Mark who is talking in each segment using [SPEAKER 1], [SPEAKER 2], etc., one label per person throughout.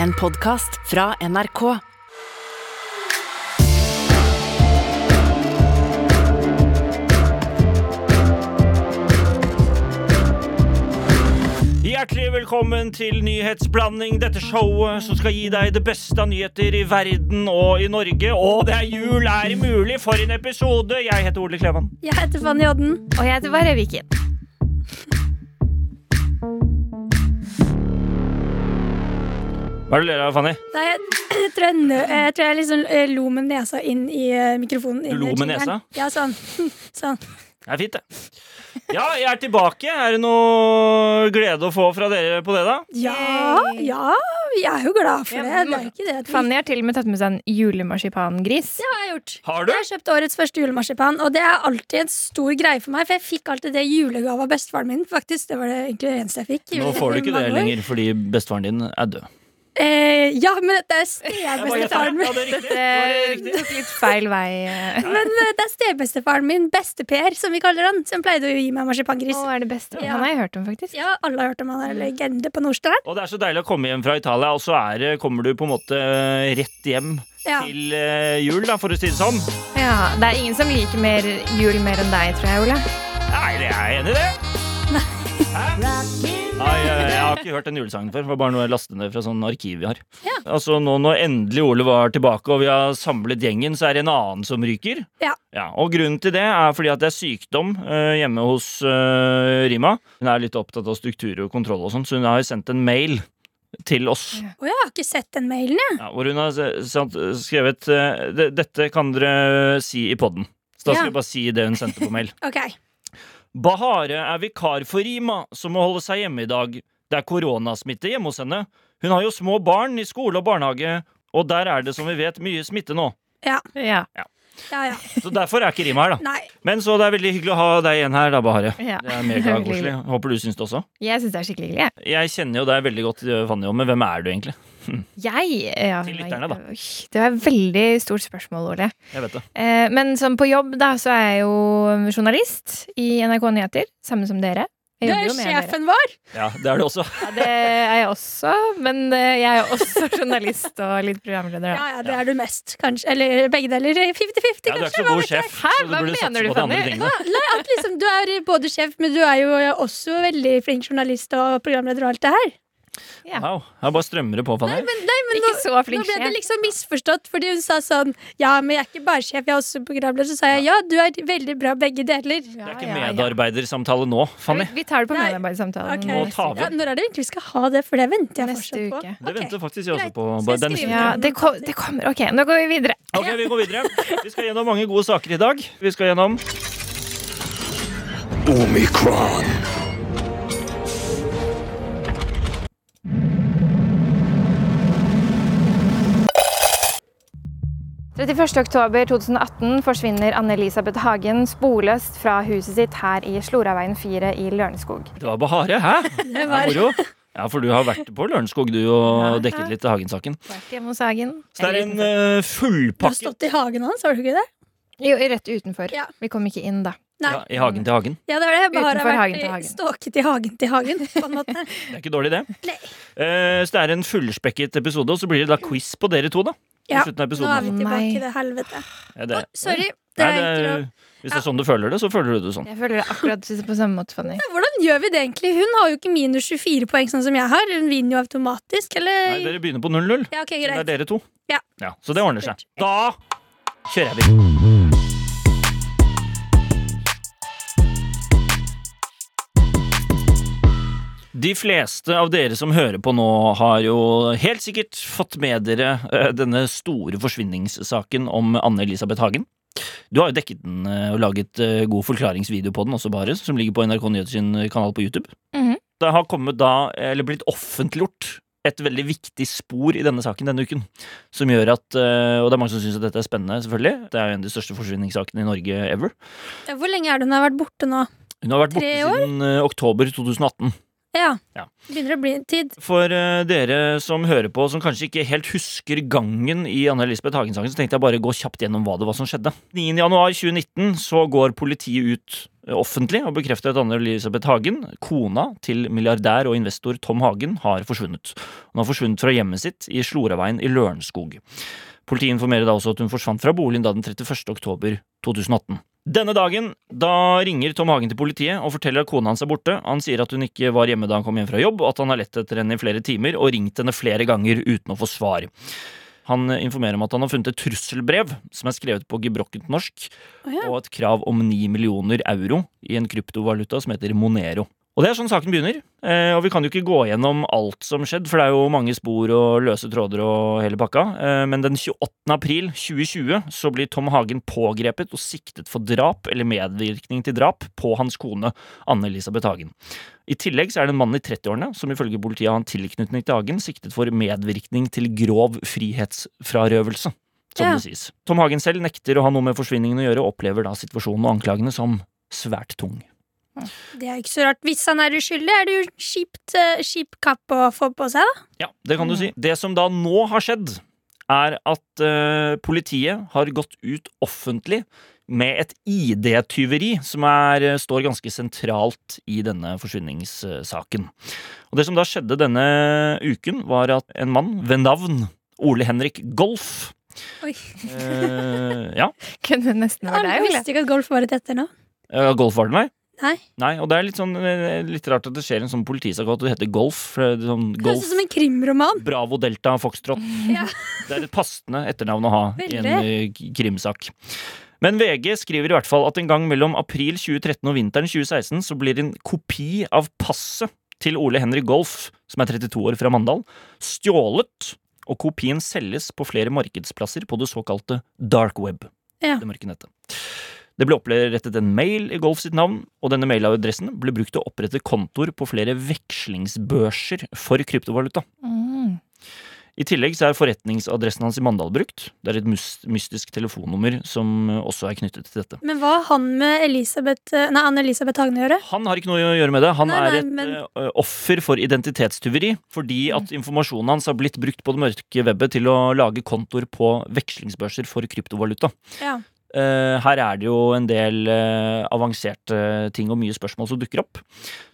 [SPEAKER 1] En podkast fra NRK.
[SPEAKER 2] Hjertelig velkommen til Nyhetsblanding, dette showet som skal gi deg det beste av nyheter i verden og i Norge. Og det er jul, er det mulig? For en episode! Jeg heter Ole Klevan.
[SPEAKER 3] Jeg heter Fanny Odden.
[SPEAKER 4] Og jeg heter Varre Viken.
[SPEAKER 2] Hva er det du ler av, Fanny?
[SPEAKER 3] Nei, jeg, jeg, tror jeg, nø, jeg tror jeg liksom eh, lo med nesa inn i eh, mikrofonen. inn
[SPEAKER 2] Du lo
[SPEAKER 3] i
[SPEAKER 2] med
[SPEAKER 3] jingeren.
[SPEAKER 2] nesa?
[SPEAKER 3] Ja, sånn. sånn.
[SPEAKER 2] Det er fint, det. Ja, jeg er tilbake. Er det noe glede å få fra dere på det, da?
[SPEAKER 3] Ja,
[SPEAKER 4] Yay.
[SPEAKER 3] ja, jeg er jo glad for
[SPEAKER 4] Ja,
[SPEAKER 3] det.
[SPEAKER 4] men
[SPEAKER 3] Det er ikke det. at vi-
[SPEAKER 4] Fanny har til og med tatt med seg en julemarsipangris.
[SPEAKER 3] Det har jeg gjort.
[SPEAKER 2] Har du?
[SPEAKER 3] Jeg har kjøpt årets første julemarsipan, og det er alltid en stor greie for meg, for jeg fikk alltid det i julegave av bestefaren min, faktisk. Det var det egentlig det eneste jeg fikk. i-
[SPEAKER 2] Nå får du
[SPEAKER 3] i
[SPEAKER 2] ikke
[SPEAKER 3] mange
[SPEAKER 2] det
[SPEAKER 3] år.
[SPEAKER 2] lenger fordi bestefaren din er død.
[SPEAKER 3] Eh, ja, men det er stebestefaren min.
[SPEAKER 2] Ja, det er riktig. Det var
[SPEAKER 4] Eh,
[SPEAKER 2] riktig.
[SPEAKER 4] tok litt feil vei. eh.
[SPEAKER 3] Men eh, det er stebestefaren min, Beste-Per, som vi kaller han, som pleide å gi meg marsipangris.
[SPEAKER 4] Å, er det beste?
[SPEAKER 3] Ja.
[SPEAKER 4] Han har jeg hørt om, faktisk.
[SPEAKER 3] Ja, alle har hørt om han er en legende på Nordstrand.
[SPEAKER 2] Og det er så deilig å komme hjem fra Italia, og så er, det- kommer du på en måte rett hjem
[SPEAKER 3] Ja.
[SPEAKER 2] til eh, jul, da, for å si det sånn.
[SPEAKER 4] Ja, det er ingen som liker mer jul mer enn deg, tror jeg, Ole.
[SPEAKER 2] Nei, det er jeg enig i det. Hæ? Nei, jeg, jeg har ikke hørt den julesangen før. Det var bare noe jeg lastet ned fra sånn arkiv vi har. Altså nå Når endelig Ole var tilbake og vi har samlet gjengen, så er det en annen som ryker.
[SPEAKER 3] Ja.
[SPEAKER 2] og Grunnen til det er fordi at det er sykdom eh, hjemme hos eh, Rima. Hun er litt opptatt av struktur og kontroll, og sånn, så hun har sendt en mail til oss.
[SPEAKER 3] Å, jeg har ikke sett den mailen, jeg.
[SPEAKER 2] Ja, hvor hun har s- sant, skrevet eh, «Det- Dette kan dere si i poden. Så da skal
[SPEAKER 4] Ja.
[SPEAKER 2] vi bare si det hun sendte på mail.
[SPEAKER 3] Ok.
[SPEAKER 2] Bahare er vikar for Rima, som må holde seg hjemme i dag. Det er koronasmitte hjemme hos henne. Hun har jo små barn i skole og barnehage, og der er det som vi vet mye smitte nå.
[SPEAKER 4] Ja,
[SPEAKER 3] Ja, ja.
[SPEAKER 2] Så derfor er ikke Rima her, da.
[SPEAKER 3] Nei.
[SPEAKER 2] Men så det er veldig hyggelig å ha deg igjen her, da, Bahare.
[SPEAKER 4] ja.
[SPEAKER 2] Det er megakoselig. Håper du syns det også.
[SPEAKER 4] Jeg syns det er skikkelig hyggelig.
[SPEAKER 2] Jeg kjenner jo deg veldig godt, eh, Fanny, men hvem er du egentlig?
[SPEAKER 4] Jeg ja,
[SPEAKER 2] Til lytterne, da.
[SPEAKER 4] Oi, Det var et veldig stort spørsmål, Ole.
[SPEAKER 2] Jeg vet det.
[SPEAKER 4] Eh, Men som på jobb, da, så er jeg jo journalist i NRK Nyheter. Samme som dere.
[SPEAKER 3] Du
[SPEAKER 4] Jeg
[SPEAKER 3] er
[SPEAKER 4] jobber
[SPEAKER 3] jo
[SPEAKER 4] jo med dere.
[SPEAKER 3] sjefen vår!
[SPEAKER 2] Ja, det er du også.
[SPEAKER 4] Ja, det er jeg også, men eh, jeg er også journalist og litt programleder.
[SPEAKER 3] Ja,
[SPEAKER 4] Da.
[SPEAKER 3] ja, det er du mest, kanskje. Eller begge deler.
[SPEAKER 2] Ja, du
[SPEAKER 3] 50-50,
[SPEAKER 2] er
[SPEAKER 3] kanskje.
[SPEAKER 2] ikke så god sjef,
[SPEAKER 4] Hæ?
[SPEAKER 2] så du
[SPEAKER 4] Hva
[SPEAKER 2] burde
[SPEAKER 4] mener
[SPEAKER 2] satse
[SPEAKER 4] du,
[SPEAKER 2] på de andre
[SPEAKER 4] Fanny?
[SPEAKER 2] tingene.
[SPEAKER 3] Nei, at liksom, du er både sjef, men du er jo også veldig flink journalist og programleder og alt det her.
[SPEAKER 4] Ja.
[SPEAKER 2] Wow, jeg bare strømmer det på, Fanny.
[SPEAKER 3] Men nå,
[SPEAKER 4] Ikke så
[SPEAKER 3] nå
[SPEAKER 4] flink
[SPEAKER 3] ble det
[SPEAKER 4] sjef.
[SPEAKER 3] liksom misforstått, fordi hun sa sånn Ja, men jeg er ikke bare sjef, jeg er også programleder. Så sa jeg ja, du er veldig bra begge deler.
[SPEAKER 2] Det er ikke medarbeidersamtale nå, Fanny.
[SPEAKER 4] Vi tar det på
[SPEAKER 3] Nei.
[SPEAKER 4] medarbeidersamtalen
[SPEAKER 3] Ok.
[SPEAKER 2] Nå tar vi.
[SPEAKER 3] Ja, når er det egentlig vi skal ha det? For det venter jeg
[SPEAKER 4] neste
[SPEAKER 3] fortsatt på.
[SPEAKER 4] uke.
[SPEAKER 2] Det
[SPEAKER 3] Ok.
[SPEAKER 2] venter faktisk jeg også
[SPEAKER 3] Greit.
[SPEAKER 2] på.
[SPEAKER 3] Skal jeg
[SPEAKER 2] Den
[SPEAKER 3] skrive
[SPEAKER 4] Ja, det, ko det kommer. Ok, nå går vi videre.
[SPEAKER 2] Ok, Vi går videre. Vi skal gjennom mange gode saker i dag. Vi skal gjennom
[SPEAKER 5] Omikron.
[SPEAKER 4] «31. oktober 2018 forsvinner Anne-Elisabeth Hagen sporløst fra huset sitt her i Sloraveien 4 i Lørenskog.
[SPEAKER 2] Det var Bahare, hæ?
[SPEAKER 3] Det
[SPEAKER 2] Det er
[SPEAKER 3] var
[SPEAKER 2] moro. Ja, for du har vært på Lørenskog, du, og dekket litt Hagen-saken.
[SPEAKER 4] Vært hjemme hos Hagen.
[SPEAKER 2] Så det er en
[SPEAKER 4] Eller
[SPEAKER 2] eh,
[SPEAKER 3] Du har
[SPEAKER 2] fullpakke
[SPEAKER 3] stått i hagen hans, har du ikke det?
[SPEAKER 4] utenfor. Jo, rett utenfor.
[SPEAKER 3] Ja.
[SPEAKER 4] Vi kom ikke inn da.
[SPEAKER 3] Nei.
[SPEAKER 2] ja, i Hagen til Hagen.
[SPEAKER 3] Ja, det er det. Jeg bare har
[SPEAKER 4] Utenfor
[SPEAKER 3] vært
[SPEAKER 4] hagen til
[SPEAKER 3] i-
[SPEAKER 4] hagen.
[SPEAKER 3] stalket i hagen til hagen, på en måte.
[SPEAKER 2] Det er ikke dårlig, det.
[SPEAKER 3] Nei. Mm.
[SPEAKER 2] Eh, så det er en fullspekket episode, og så blir det da quiz på dere to, da. I
[SPEAKER 3] Ja.
[SPEAKER 2] slutten av
[SPEAKER 3] Nå er
[SPEAKER 2] episoden.
[SPEAKER 3] vi
[SPEAKER 4] Å,
[SPEAKER 3] tilbake
[SPEAKER 4] nei.
[SPEAKER 3] i det helvete.
[SPEAKER 2] Ja,
[SPEAKER 3] Å,
[SPEAKER 2] det-
[SPEAKER 3] sorry. Det
[SPEAKER 2] Nei,
[SPEAKER 3] er
[SPEAKER 2] det
[SPEAKER 3] ikke
[SPEAKER 2] er-
[SPEAKER 3] lov.
[SPEAKER 2] hvis det er sånn du føler det, så føler du det sånn.
[SPEAKER 4] Jeg føler det akkurat på samme måte, Fanny.
[SPEAKER 3] Hvordan gjør vi det egentlig? Hun har jo ikke minus 24 poeng, sånn som jeg har. Hun vinner jo automatisk, eller?
[SPEAKER 2] Nei, dere begynner på 0-0.
[SPEAKER 3] Ja, ok,
[SPEAKER 2] Det er
[SPEAKER 3] greit.
[SPEAKER 2] dere to.
[SPEAKER 3] Ja.
[SPEAKER 2] Så det ordner seg.
[SPEAKER 3] Supert.
[SPEAKER 2] Da kjører vi. De fleste av dere som hører på nå, har jo helt sikkert fått med dere eh, denne store forsvinningssaken om Anne-Elisabeth Hagen. Du har jo dekket den eh, og laget eh, god forklaringsvideo på den også, bare, som ligger på NRK Nyheter sin eh, kanal på YouTube.
[SPEAKER 4] Mhm.
[SPEAKER 2] Det har kommet da, eller blitt offentliggjort, et veldig viktig spor i denne saken denne uken. Som gjør at, eh, og det er mange som syns at dette er spennende, selvfølgelig. Det er jo en av de største forsvinningssakene i Norge ever.
[SPEAKER 3] Ja, Hvor lenge er det hun har vært borte nå?
[SPEAKER 2] Hun har vært borte
[SPEAKER 3] Tre år?
[SPEAKER 2] siden eh, oktober 2018.
[SPEAKER 3] Ja.
[SPEAKER 2] Ja.
[SPEAKER 3] Det begynner å bli en tid.
[SPEAKER 2] For eh, dere som hører på, som kanskje ikke helt husker gangen i Anne Elisabeth Hagen-saken, så tenkte jeg bare gå kjapt gjennom hva det var som skjedde. 9. januar 2019 så går politiet ut eh, offentlig og bekrefter at Anne Elisabeth Hagen, kona til milliardær og investor Tom Hagen, har forsvunnet. Hun har forsvunnet fra hjemmet sitt i Sloraveien i Lørenskog. Politiet informerer da også at hun forsvant fra boligen da den 31. oktober 2018. Denne dagen da ringer Tom Hagen til politiet og forteller at kona hans er borte. Han sier at hun ikke var hjemme da han kom hjem fra jobb, og at han har lett etter henne i flere timer og ringt henne flere ganger uten å få svar. Han informerer om at han har funnet et trusselbrev som er skrevet på gebrokkent norsk,
[SPEAKER 3] Å ja.
[SPEAKER 2] og et krav om 9 millioner euro i en kryptovaluta som heter Monero. Og det er sånn saken begynner. Eh, og vi kan jo ikke gå gjennom alt som skjedde, for det er jo mange spor og løse tråder og hele pakka. Eh, men den 28. april 2020 så blir Tom Hagen pågrepet og siktet for drap eller medvirkning til drap på hans kone Anne-Elisabeth Hagen. I tillegg så er det en mann i 30-årene som ifølge politiet har en tilknytning til Hagen, siktet for medvirkning til grov frihetsfrarøvelse. Som
[SPEAKER 3] Ja.
[SPEAKER 2] det sies. Tom Hagen selv nekter å ha noe med forsvinningen å gjøre, og opplever da situasjonen og anklagene som svært tung.
[SPEAKER 3] Det er jo ikke så rart. Hvis han er uskyldig, er det jo kjipt, eh, kjip kapp å få på seg, da.
[SPEAKER 2] Ja, det
[SPEAKER 3] Mm.
[SPEAKER 2] kan du si. Det som da nå har skjedd, er at eh, politiet har gått ut offentlig med et ID-tyveri som er, eh, står ganske sentralt i denne forsvinningssaken. Og Det som da skjedde denne uken, var at en mann ved navn Ole Henrik Golf
[SPEAKER 3] Oi.
[SPEAKER 2] eh, Ja,
[SPEAKER 4] Kunne nesten
[SPEAKER 3] Jeg
[SPEAKER 4] vært deg, ville.
[SPEAKER 3] visste ikke at golf var et etternavn.
[SPEAKER 2] eh, Golf var det, nei?
[SPEAKER 3] Nei.
[SPEAKER 2] Nei, og det er litt, sånn, eh, litt rart at det skjer en sånn politisak og at det heter Golf. For det er sånn
[SPEAKER 3] Det
[SPEAKER 2] golf
[SPEAKER 3] Høres ut som en krimroman.
[SPEAKER 2] Bravo Delta Foxtrot.
[SPEAKER 3] Ja.
[SPEAKER 2] Det er et passende etternavn å ha i en eh, k- krimsak. Men VG skriver i hvert fall at en gang mellom april 2013 og vinteren 2016 så blir en kopi av passet til Ole Henry Golf, som er 32 år fra Mandal, stjålet, og kopien selges på flere markedsplasser på det såkalte dark web.
[SPEAKER 3] Ja.
[SPEAKER 2] Det mørke nettet. Det ble opprettet en mail i Golf sitt navn, og denne mailadressen ble brukt til å opprette kontoer på flere vekslingsbørser for kryptovaluta.
[SPEAKER 4] Mm.
[SPEAKER 2] I tillegg så er forretningsadressen hans i Mandal brukt. Det er et mus- mystisk telefonnummer som eh, også er knyttet til dette.
[SPEAKER 3] Men hva har han med Elisabeth eh, Nei, Anne-Elisabeth Hagen å gjøre?
[SPEAKER 2] Han har ikke noe å gjøre med det. Han
[SPEAKER 3] Nei, nei,
[SPEAKER 2] er et
[SPEAKER 3] men-
[SPEAKER 2] eh, offer for identitetstyveri fordi at informasjonen hans har blitt brukt på det mørke webbet til å lage kontoer på vekslingsbørser for kryptovaluta.
[SPEAKER 3] Ja.
[SPEAKER 2] Eh, her er det jo en del eh, avanserte ting og mye spørsmål som dukker opp.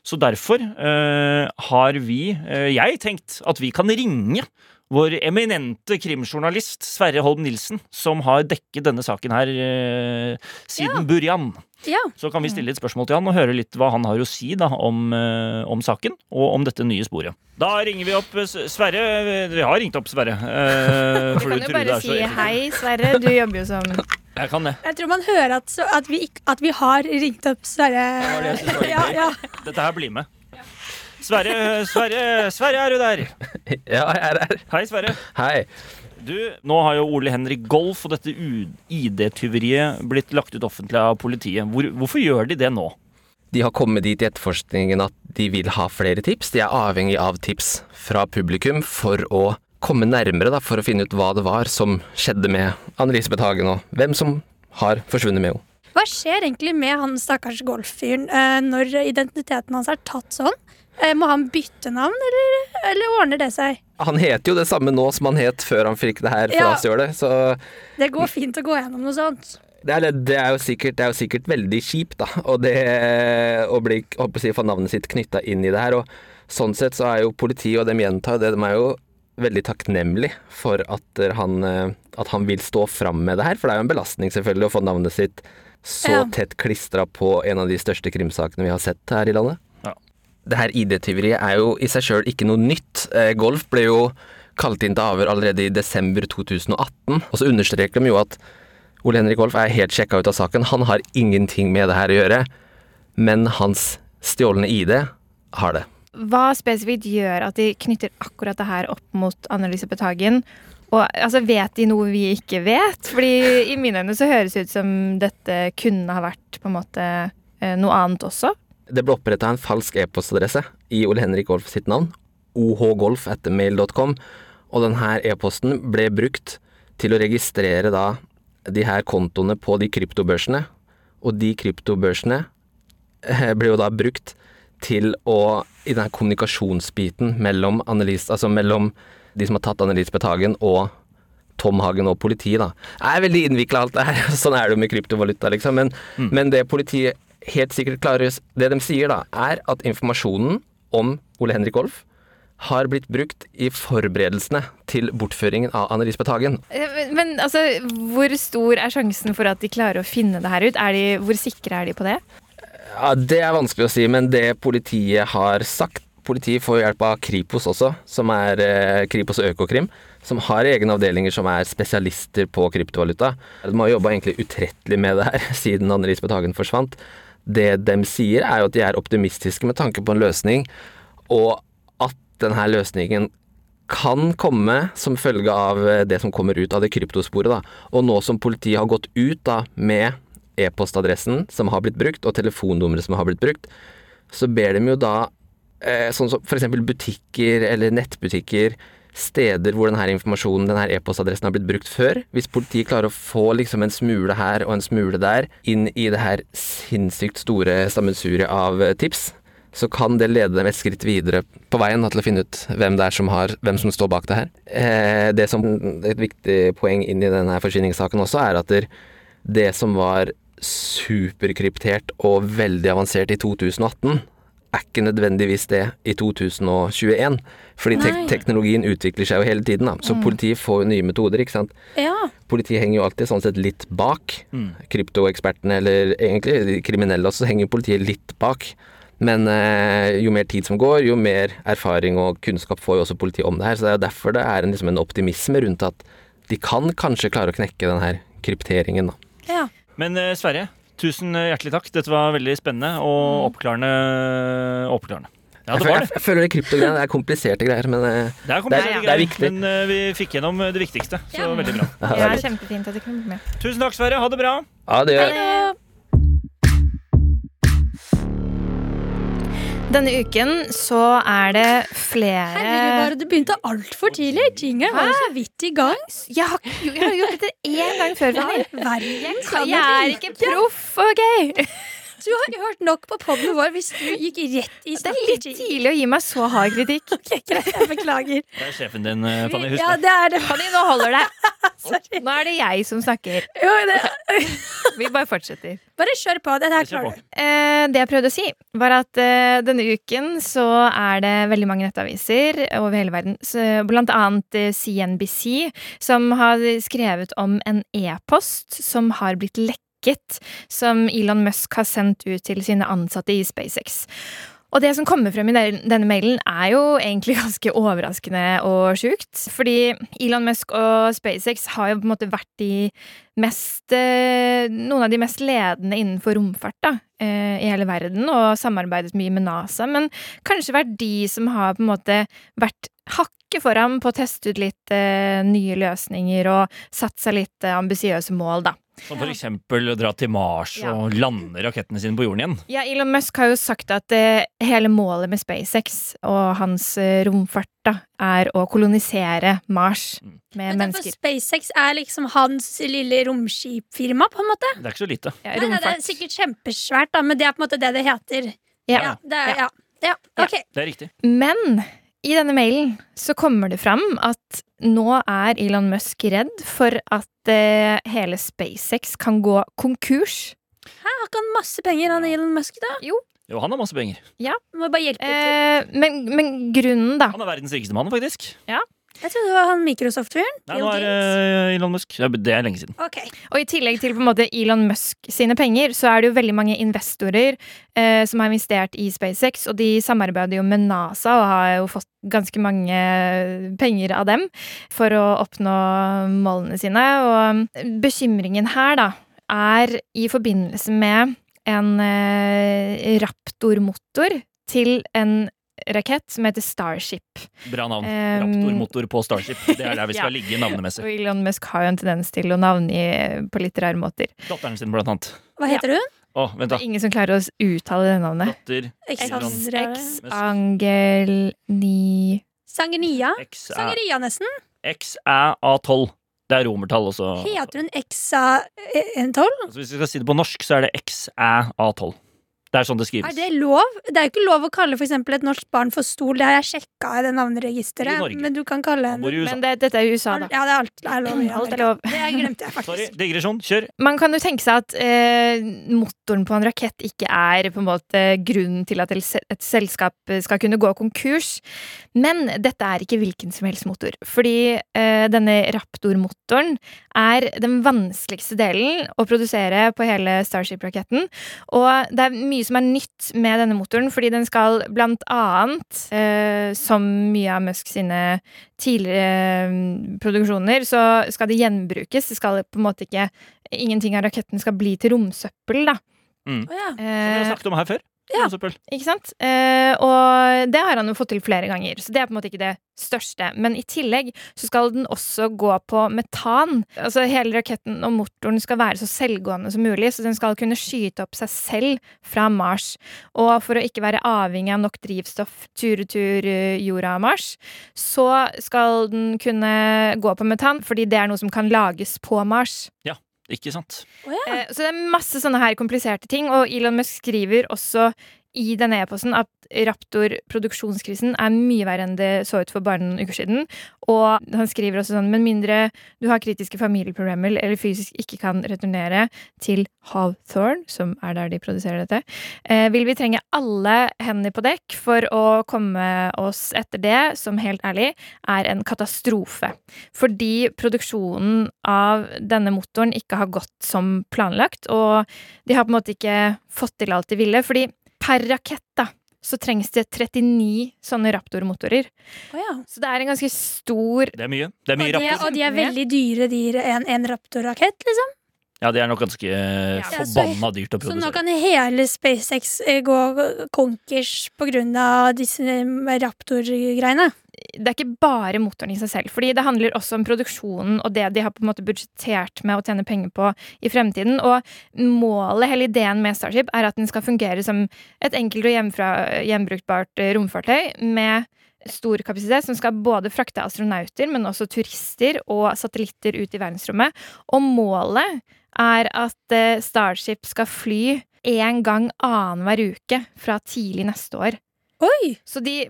[SPEAKER 2] Så derfor eh, har vi, eh, jeg, tenkt at vi kan ringe vår eminente krimjournalist Sverre Holm Nilsen, som har dekket denne saken her eh, siden Burjan.
[SPEAKER 3] ja.
[SPEAKER 2] Så kan vi stille litt spørsmål til han og høre litt hva han har å si da, om, eh, om saken og om dette nye sporet. Da ringer vi opp eh, S- Sverre. Vi har ringt opp Sverre. eh,
[SPEAKER 4] Du
[SPEAKER 2] for tror
[SPEAKER 4] kan jo
[SPEAKER 2] det
[SPEAKER 4] bare
[SPEAKER 2] er så
[SPEAKER 4] si
[SPEAKER 2] effektivt.
[SPEAKER 4] hei, Sverre. Du jobber jo som
[SPEAKER 2] Jeg kan det.
[SPEAKER 3] Jeg tror man hører at, så, at, vi, ikk- at vi har ringt opp Sverre.
[SPEAKER 2] var det jeg syntes var litt
[SPEAKER 3] Ja,
[SPEAKER 2] gøy.
[SPEAKER 3] ja.
[SPEAKER 2] Dette her blir med. Sverre, Sverre, Sverre er du der?
[SPEAKER 5] Ja, jeg er her.
[SPEAKER 2] Hei, Sverre.
[SPEAKER 5] Hei.
[SPEAKER 2] Du, nå har jo Ole Henrik Golf og dette U- ID-tyveriet blitt lagt ut offentlig av politiet. Hvor, hvorfor gjør de det nå?
[SPEAKER 5] De har kommet dit i etterforskningen at de vil ha flere tips. De er avhengig av tips fra publikum for å komme nærmere, da, for å finne ut hva det var som skjedde med Anne-Elisabeth Hagen, og hvem som har forsvunnet med henne.
[SPEAKER 3] Hva skjer egentlig med han stakkars golffyren eh, når identiteten hans er tatt sånn? Eh, må han bytte navn, eller, eller ordner det seg?
[SPEAKER 5] Han heter jo det samme nå som han het før han fikk det her
[SPEAKER 3] Ja.
[SPEAKER 5] frastjålet, så
[SPEAKER 3] Det går fint å gå gjennom noe sånt.
[SPEAKER 5] det er, det, er jo sikkert, det er jo sikkert veldig kjipt, da, og det, å bli, holdt på å si, få navnet sitt knytta inn i det her. Og sånn sett så er jo politiet, og dem gjentar jo det, de er jo veldig takknemlig for at han, eh, at han vil stå fram med det her, for det er jo en belastning selvfølgelig å få navnet sitt så
[SPEAKER 3] Ja.
[SPEAKER 5] tett klistra på en av de største krimsakene vi har sett her i landet.
[SPEAKER 2] Ja.
[SPEAKER 5] Det her ID-tyveriet er jo i seg sjøl ikke noe nytt. Eh, Golf ble jo kalt inn til avhør allerede i desember 2018, og så understreker de jo at Ole Henrik Golf er helt sjekka ut av saken. Han har ingenting med det her å gjøre, men hans stjålne ID har det.
[SPEAKER 4] Hva spesifikt gjør at de knytter akkurat det her opp mot Anne-Elisabeth Hagen? Og altså, vet de noe vi ikke vet? Fordi i mine øyne så høres det ut som dette kunne ha vært på en måte eh, noe annet også.
[SPEAKER 5] Det ble oppretta en falsk e-postadresse i Ole Henrik Golf sitt navn, ohgolf.mail.com, og denne e-posten ble brukt til å registrere da de her kontoene på de kryptobørsene, og de kryptobørsene eh, ble jo da brukt til å I denne kommunikasjonsbiten mellom Annelise Altså mellom de som har tatt Annelise Bethagen og Tom Hagen og politiet, da. Det er veldig innvikla alt det her. Sånn er det jo med kryptovaluta, liksom. Men, men det politiet helt sikkert klarer Det de sier, da, er at informasjonen om Ole Henrik Olf har blitt brukt i forberedelsene til bortføringen av Annelise Bethagen.
[SPEAKER 4] Eh, Men, men altså, hvor stor er sjansen for at de klarer å finne det her ut? Er de, hvor sikre er de på det?
[SPEAKER 5] Ja, Det er vanskelig å si, men det politiet har sagt Politiet får hjelp av Kripos også, som er eh, Kripos og Økokrim, som har egne avdelinger som er spesialister på kryptovaluta. De har jobba egentlig utrettelig med det her siden Anne Lisbeth Hagen forsvant. Det de sier, er jo at de er optimistiske med tanke på en løsning, og at denne løsningen kan komme som følge av eh, det som kommer ut av det kryptosporet. Da. Og nå som politiet har gått ut da, med e-postadressen som har blitt brukt, og telefonnummeret som har blitt brukt, så ber de jo da eh, sånn som f.eks. butikker eller nettbutikker, steder hvor denne informasjonen, denne e-postadressen har blitt brukt før. Hvis politiet klarer å få liksom en smule her og en smule der inn i det her sinnssykt store sammensuriet av eh, tips, så kan det lede dem et skritt videre på veien da, til å finne ut hvem det er som har, hvem som står bak det her. Eh, det som Et viktig poeng inn i denne her forsyningssaken også er at der, det som var superkryptert og veldig avansert i 2018, er ikke nødvendigvis det i 2021. Fordi tek teknologien utvikler seg jo hele tiden, da. så politiet får jo nye metoder. ikke sant?
[SPEAKER 3] Ja.
[SPEAKER 5] Politiet henger jo alltid sånn sett litt bak. Kryptoekspertene, eller egentlig de kriminelle også, henger politiet litt bak. Men eh, jo mer tid som går, jo mer erfaring og kunnskap får jo også politiet om det her. Så det er jo derfor det er en, liksom en optimisme rundt at de kan kanskje klare å knekke den her krypteringen, da.
[SPEAKER 3] ja.
[SPEAKER 2] Men eh, Sverre, tusen hjertelig takk. Dette var veldig spennende og oppklarende. oppklarende. Ja,
[SPEAKER 5] jeg,
[SPEAKER 2] det var
[SPEAKER 5] føler,
[SPEAKER 2] det.
[SPEAKER 5] jeg føler det kryptogreiene er kompliserte greier, men eh,
[SPEAKER 2] Det er,
[SPEAKER 5] det
[SPEAKER 2] kompliserte
[SPEAKER 5] er
[SPEAKER 2] greier,
[SPEAKER 5] viktig.
[SPEAKER 2] Men eh, vi fikk gjennom det viktigste, så
[SPEAKER 4] Ja.
[SPEAKER 2] veldig bra.
[SPEAKER 4] Det er kjempefint at de kunne blitt med.
[SPEAKER 2] Tusen takk, Sverre. Ha det bra.
[SPEAKER 5] ja, det gjør
[SPEAKER 4] Denne uken så er det flere
[SPEAKER 3] Herregud, bare det begynte altfor tidlig. Jingle var jo så vidt i gang.
[SPEAKER 4] Jeg har, jo, jeg har gjort dette én gang før. Fanny.
[SPEAKER 3] Verdens
[SPEAKER 4] Jeg er ikke proff, OK?
[SPEAKER 3] Du har ikke hørt nok på podden vår hvis du gikk rett i
[SPEAKER 4] Det er litt
[SPEAKER 3] jingle.
[SPEAKER 4] tidlig å gi meg så hard kritikk.
[SPEAKER 3] Ok, greit, jeg beklager.
[SPEAKER 2] Det er sjefen din, eh, Fanny. Husk
[SPEAKER 3] Ja,
[SPEAKER 2] det.
[SPEAKER 3] det er det.
[SPEAKER 4] Fanny, nå holder det.
[SPEAKER 3] Sorry.
[SPEAKER 4] Nå er det jeg som snakker.
[SPEAKER 3] Jo, det.
[SPEAKER 4] Vi bare fortsetter.
[SPEAKER 3] Bare kjør på. Dette her
[SPEAKER 2] Kjør på.
[SPEAKER 3] klarer du.
[SPEAKER 4] Eh, det jeg prøvde å si, var at eh, denne uken så er det veldig mange nettaviser over hele verden, så, blant annet eh, CNBC, som har skrevet om en e-post som har blitt lekket, som Elon Musk har sendt ut til sine ansatte i SpaceX. Og det som kommer frem i den- denne mailen er jo egentlig ganske overraskende og sjukt. Fordi Elon Musk og SpaceX har jo på en måte vært de mest, eh, noen av de mest ledende innenfor romfart da, eh, i hele verden, og samarbeidet mye med NASA. Men kanskje vært de som har på en måte vært hakket foran på å teste ut litt eh, nye løsninger og satt seg litt eh, ambisiøse mål, da.
[SPEAKER 2] Som for eksempel å dra til Mars
[SPEAKER 4] Ja.
[SPEAKER 2] og lande rakettene sine på jorden igjen.
[SPEAKER 4] Ja, Elon Musk har jo sagt at eh, hele målet med SpaceX og hans eh, romfart da, er å kolonisere Mars
[SPEAKER 2] Mm.
[SPEAKER 4] med
[SPEAKER 3] Men derfor
[SPEAKER 4] mennesker.
[SPEAKER 3] SpaceX er liksom hans lille romskipfirma, på en måte.
[SPEAKER 2] Det er ikke så lite.
[SPEAKER 4] Ja,
[SPEAKER 3] Nei, nei, det er
[SPEAKER 4] romfart.
[SPEAKER 3] sikkert kjempesvært, da, men det er på en måte det det heter.
[SPEAKER 4] Ja.
[SPEAKER 3] Ja, det er, ja. ja.
[SPEAKER 4] Ja.
[SPEAKER 3] ok.
[SPEAKER 2] Det er riktig.
[SPEAKER 4] Men i denne mailen så kommer det fram at nå er Elon Musk redd for at eh, hele SpaceX kan gå konkurs.
[SPEAKER 3] Hæ, har ikke han masse penger, han Elon Musk, da?
[SPEAKER 2] Jo, han har masse penger.
[SPEAKER 3] Må bare hjelpe til.
[SPEAKER 4] Eh, men, men grunnen, da
[SPEAKER 2] Han er verdens rikeste mann, faktisk.
[SPEAKER 3] Jeg trodde det var han Microsoft-fyren.
[SPEAKER 2] Nei,
[SPEAKER 3] Bill
[SPEAKER 2] nå er det Elon Musk. Ja, Det er lenge siden.
[SPEAKER 3] Ok.
[SPEAKER 4] Og i tillegg til på en måte Elon Musk sine penger, så er det jo veldig mange investorer eh, som har investert i SpaceX, og de samarbeider jo med NASA og har jo fått ganske mange penger av dem for å oppnå målene sine. Og bekymringen her, da, er i forbindelse med en eh, raptormotor til en rakett som heter Starship.
[SPEAKER 2] Bra navn.
[SPEAKER 4] Um,
[SPEAKER 2] Raptormotor på Starship. Det er der vi skal ligge
[SPEAKER 4] Og
[SPEAKER 2] navnemessig.
[SPEAKER 4] Elon Musk har jo en tendens til å navngi på litt rare måter.
[SPEAKER 2] Datteren sin, blant annet.
[SPEAKER 3] Hva heter hun?
[SPEAKER 2] Å, vent, da.
[SPEAKER 4] Det er ingen som klarer å uttale det navnet.
[SPEAKER 2] Datter
[SPEAKER 3] Ikke sant?
[SPEAKER 2] Elon
[SPEAKER 4] X,
[SPEAKER 2] Musk.
[SPEAKER 4] Angel, Ni
[SPEAKER 3] Sangeria?
[SPEAKER 2] X er-
[SPEAKER 3] Sangeria, nesten.
[SPEAKER 2] X er A12. Det er romertall også.
[SPEAKER 3] Heter hun Exa eh, en tolv?
[SPEAKER 2] Altså, hvis vi skal si det på norsk, så er det X er A12. Det er sånn det
[SPEAKER 3] Er
[SPEAKER 2] skrives.
[SPEAKER 3] det lov? Det er jo ikke lov å kalle for eksempel et norsk barn for stol. Det har jeg sjekka i det
[SPEAKER 2] I
[SPEAKER 3] navneregisteret.
[SPEAKER 2] Norge.
[SPEAKER 3] Men du kan kalle
[SPEAKER 2] Han
[SPEAKER 3] henne
[SPEAKER 2] bor i USA.
[SPEAKER 4] Men det, dette er USA, da.
[SPEAKER 3] Ja, det er alt er lov. i
[SPEAKER 4] Alt er
[SPEAKER 3] Amerika.
[SPEAKER 4] lov.
[SPEAKER 3] Det glemte jeg
[SPEAKER 2] Sorry,
[SPEAKER 3] faktisk.
[SPEAKER 2] digresjon. Kjør.
[SPEAKER 4] Man kan jo tenke seg at eh, motoren på en rakett ikke er på en måte grunnen til at et selskap eh, skal kunne gå konkurs, men dette er ikke hvilken som helst motor. Fordi eh, denne Raptor-motoren er den vanskeligste delen å produsere på hele Starship-raketten. Og det er mye som er nytt med denne motoren, fordi den skal blant annet, eh, som mye av Musk sine tidligere eh, produksjoner, så skal det gjenbrukes. Det skal på en måte ikke Ingenting av raketten skal bli til romsøppel, da.
[SPEAKER 3] Å ja.
[SPEAKER 2] Som vi har
[SPEAKER 4] Eh,
[SPEAKER 2] snakket om her før.
[SPEAKER 3] Ja.
[SPEAKER 2] Søppel.
[SPEAKER 4] ikke sant? Eh, og det har han jo fått til flere ganger, så det er på en måte ikke det største. Men i tillegg så skal den også gå på metan. Altså Hele raketten og motoren skal være så selvgående som mulig, så den skal kunne skyte opp seg selv fra Mars. Og for å ikke være avhengig av nok drivstoff tur-retur eh, jorda og Mars, så skal den kunne gå på metan, fordi det er noe som kan lages på Mars.
[SPEAKER 2] Ikke sant?
[SPEAKER 3] Å ja.
[SPEAKER 4] Eh, Så det er masse sånne her kompliserte ting, og Elon Musk skriver også i denne e-posten at Raptor-produksjonskrisen er mye verre enn det så ut for bare noen uker siden. Og han skriver også sånn, med mindre du har kritiske familieproblemer eller fysisk ikke kan returnere til Hawthorne, som er der de produserer dette, eh, vil vi trenge alle hender på dekk for å komme oss etter det, som helt ærlig er en katastrofe fordi produksjonen av denne motoren ikke har gått som planlagt, og de har på en måte ikke fått til alt de ville, fordi per rakett da, så trengs det 39 sånne Raptor-motorer.
[SPEAKER 3] Å ja.
[SPEAKER 4] Så det er en ganske stor
[SPEAKER 2] Det er mye. Det er
[SPEAKER 3] Og
[SPEAKER 2] mye
[SPEAKER 3] de,
[SPEAKER 2] rapper.
[SPEAKER 3] og de er veldig dyre, de en, en Raptor-rakett, liksom.
[SPEAKER 2] Ja, det er nok ganske
[SPEAKER 3] Ja, så-
[SPEAKER 2] forbanna dyrt å
[SPEAKER 3] Så nå
[SPEAKER 2] produsere.
[SPEAKER 3] kan hele SpaceX eh, gå konkurs på grunn av disse eh, Raptor-greiene.
[SPEAKER 4] Det er ikke bare motoren i seg selv, fordi det handler også om produksjonen og det de har på en måte budsjettert med å tjene penger på i fremtiden. Og målet, hele ideen med Starship, er at den skal fungere som et enkelt og hjemfra- gjenbrukbart eh, romfartøy med stor kapasitet som skal både frakte astronauter, men også turister og satellitter ut i verdensrommet. Og målet er at eh, Starship skal fly én gang annenhver uke fra tidlig neste år.
[SPEAKER 3] Oi!
[SPEAKER 4] Så de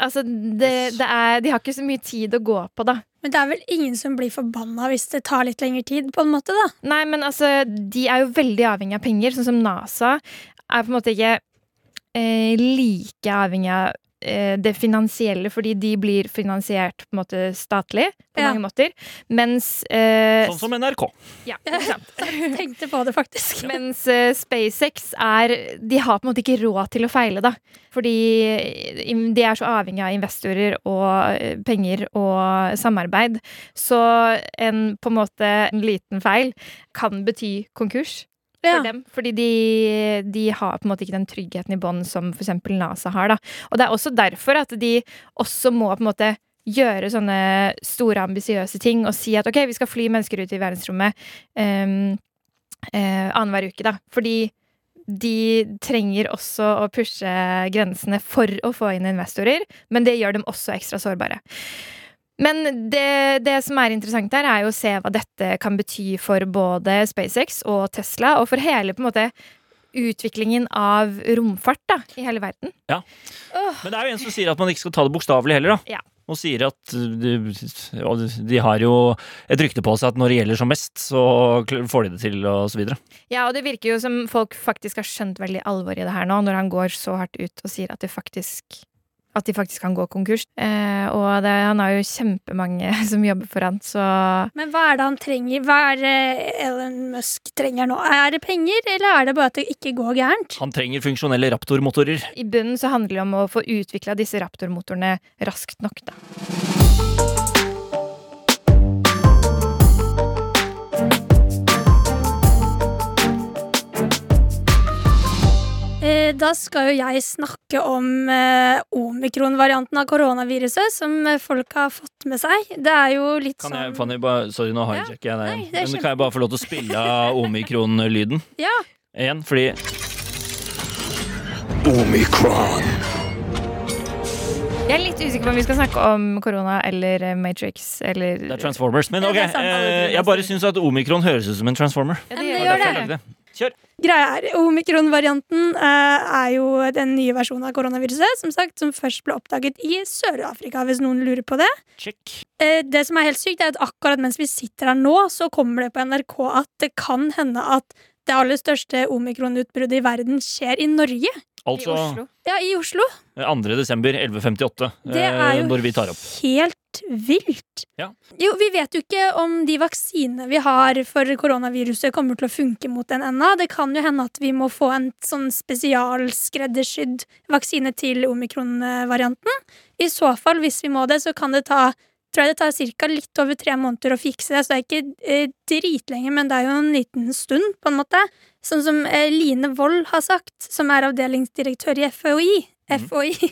[SPEAKER 4] Altså, det, det er, de har ikke så mye tid å gå på, da.
[SPEAKER 3] Men det er vel ingen som blir forbanna hvis det tar litt lengre tid, på en måte, da.
[SPEAKER 4] Nei, men altså, de er jo veldig avhengig av penger, sånn som NASA er på en måte ikke eh, like avhengig av eh, det finansielle, fordi de blir finansiert på en måte statlig på
[SPEAKER 3] Ja.
[SPEAKER 4] mange måter, mens eh,
[SPEAKER 2] Sånn som NRK.
[SPEAKER 4] ja, ikke sant?
[SPEAKER 3] Jeg tenkte på det, faktisk.
[SPEAKER 4] Mens eh, SpaceX er De har på en måte ikke råd til å feile, da. Fordi eh, im- de er så avhengig av investorer og eh, penger og samarbeid. Så en på en måte en liten feil kan bety konkurs for
[SPEAKER 3] Ja.
[SPEAKER 4] dem. Fordi de, de har på en måte ikke den tryggheten i bånn som f.eks. NASA har. da. Og det er også derfor at de også må på en måte gjøre sånne store, ambisiøse ting og si at ok, vi skal fly mennesker ut i verdensrommet um, eh, annenhver uke, da. Fordi de trenger også å pushe grensene for å få inn investorer, men det gjør dem også ekstra sårbare. Men det, det som er interessant her, er jo å se hva dette kan bety for både SpaceX og Tesla, og for hele på en måte utviklingen av romfart da, i hele verden.
[SPEAKER 2] Men det er jo en som sier at man ikke skal ta det bokstavelig heller, da.
[SPEAKER 4] Ja.
[SPEAKER 2] Og sier at eh, de, og de har jo et rykte på seg at når det gjelder som mest, så kl- får de det til, og så videre.
[SPEAKER 4] Ja, og det virker jo som folk faktisk har skjønt veldig alvor i det her nå, når han går så hardt ut og sier at det faktisk at de faktisk kan gå konkurs. Eh, og det, han har jo kjempemange som jobber for han, så
[SPEAKER 3] Men hva er det han trenger? Hva er det Elon Musk trenger nå? Er det penger, eller er det bare at det ikke går gærent?
[SPEAKER 2] Han trenger funksjonelle raptormotorer.
[SPEAKER 4] i bunnen så handler det om å få utvikla disse raptormotorene raskt nok, da.
[SPEAKER 3] Eh, Da skal jo jeg snakke om eh, omikron-varianten av koronaviruset, som eh, folk har fått med seg. Det er jo litt
[SPEAKER 2] Kan
[SPEAKER 3] sånn
[SPEAKER 2] jeg, Fanny, bare, sorry, nå hijacker jeg deg.
[SPEAKER 3] nei, det er
[SPEAKER 2] Men
[SPEAKER 3] kjempe-
[SPEAKER 2] kan jeg bare få lov til å spille av omikron-lyden
[SPEAKER 3] Ja,
[SPEAKER 2] igjen? Fordi
[SPEAKER 4] Jeg er litt usikker på om vi skal snakke om korona eller eh, Matrix eller
[SPEAKER 2] det er Transformers. Men
[SPEAKER 3] Ja,
[SPEAKER 2] ok,
[SPEAKER 3] det er sant, alle tror
[SPEAKER 2] eh,
[SPEAKER 3] det
[SPEAKER 2] jeg bare
[SPEAKER 3] stemmer.
[SPEAKER 2] syns at omikron høres ut som en transformer.
[SPEAKER 4] Ja,
[SPEAKER 3] Men det
[SPEAKER 2] var
[SPEAKER 3] gjør
[SPEAKER 2] derfor jeg
[SPEAKER 3] det.
[SPEAKER 2] lagde det. Kjør.
[SPEAKER 3] Greia er, Omikron-varianten eh, er jo den nye versjonen av koronaviruset som sagt, som først ble oppdaget i Sør-Afrika, hvis noen lurer på det.
[SPEAKER 2] Check.
[SPEAKER 3] Eh, det som er helt sykt, er at akkurat mens vi sitter her nå, så kommer det på NRK at det kan hende at det aller største omikron-utbruddet i verden skjer i Norge.
[SPEAKER 2] Altså
[SPEAKER 4] I Oslo.
[SPEAKER 3] Ja, i Oslo.
[SPEAKER 2] 2. desember 11.58,
[SPEAKER 3] Det er
[SPEAKER 2] eh,
[SPEAKER 3] jo
[SPEAKER 2] når vi tar opp.
[SPEAKER 3] helt vilt.
[SPEAKER 2] Ja.
[SPEAKER 3] Jo, vi vet jo ikke om de vaksinene vi har for koronaviruset, kommer til å funke mot den ennå. Det kan jo hende at vi må få en sånn spesialskreddersydd vaksine til omikron-varianten. I så fall, hvis vi må det, så kan det ta tror jeg det tar cirka litt over tre måneder å fikse det, så det er ikke eh, dritlenge, men det er jo en liten stund, på en måte. Sånn som eh, Line Wold har sagt, som er avdelingsdirektør i FHI,
[SPEAKER 2] Mhm.
[SPEAKER 3] FHI,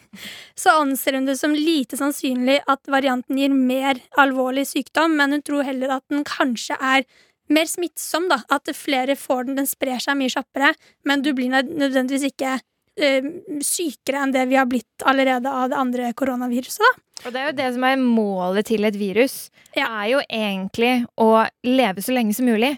[SPEAKER 3] så anser hun det som lite sannsynlig at varianten gir mer alvorlig sykdom, men hun tror heller at den kanskje er mer smittsom, da. At flere får den, den sprer seg mye kjappere, men du blir nød- nødvendigvis ikke eh, sykere enn det vi har blitt allerede av det andre koronaviruset, da.
[SPEAKER 4] Og det er jo det som er målet til et virus.
[SPEAKER 3] Ja.
[SPEAKER 4] Er jo egentlig å leve så lenge som mulig.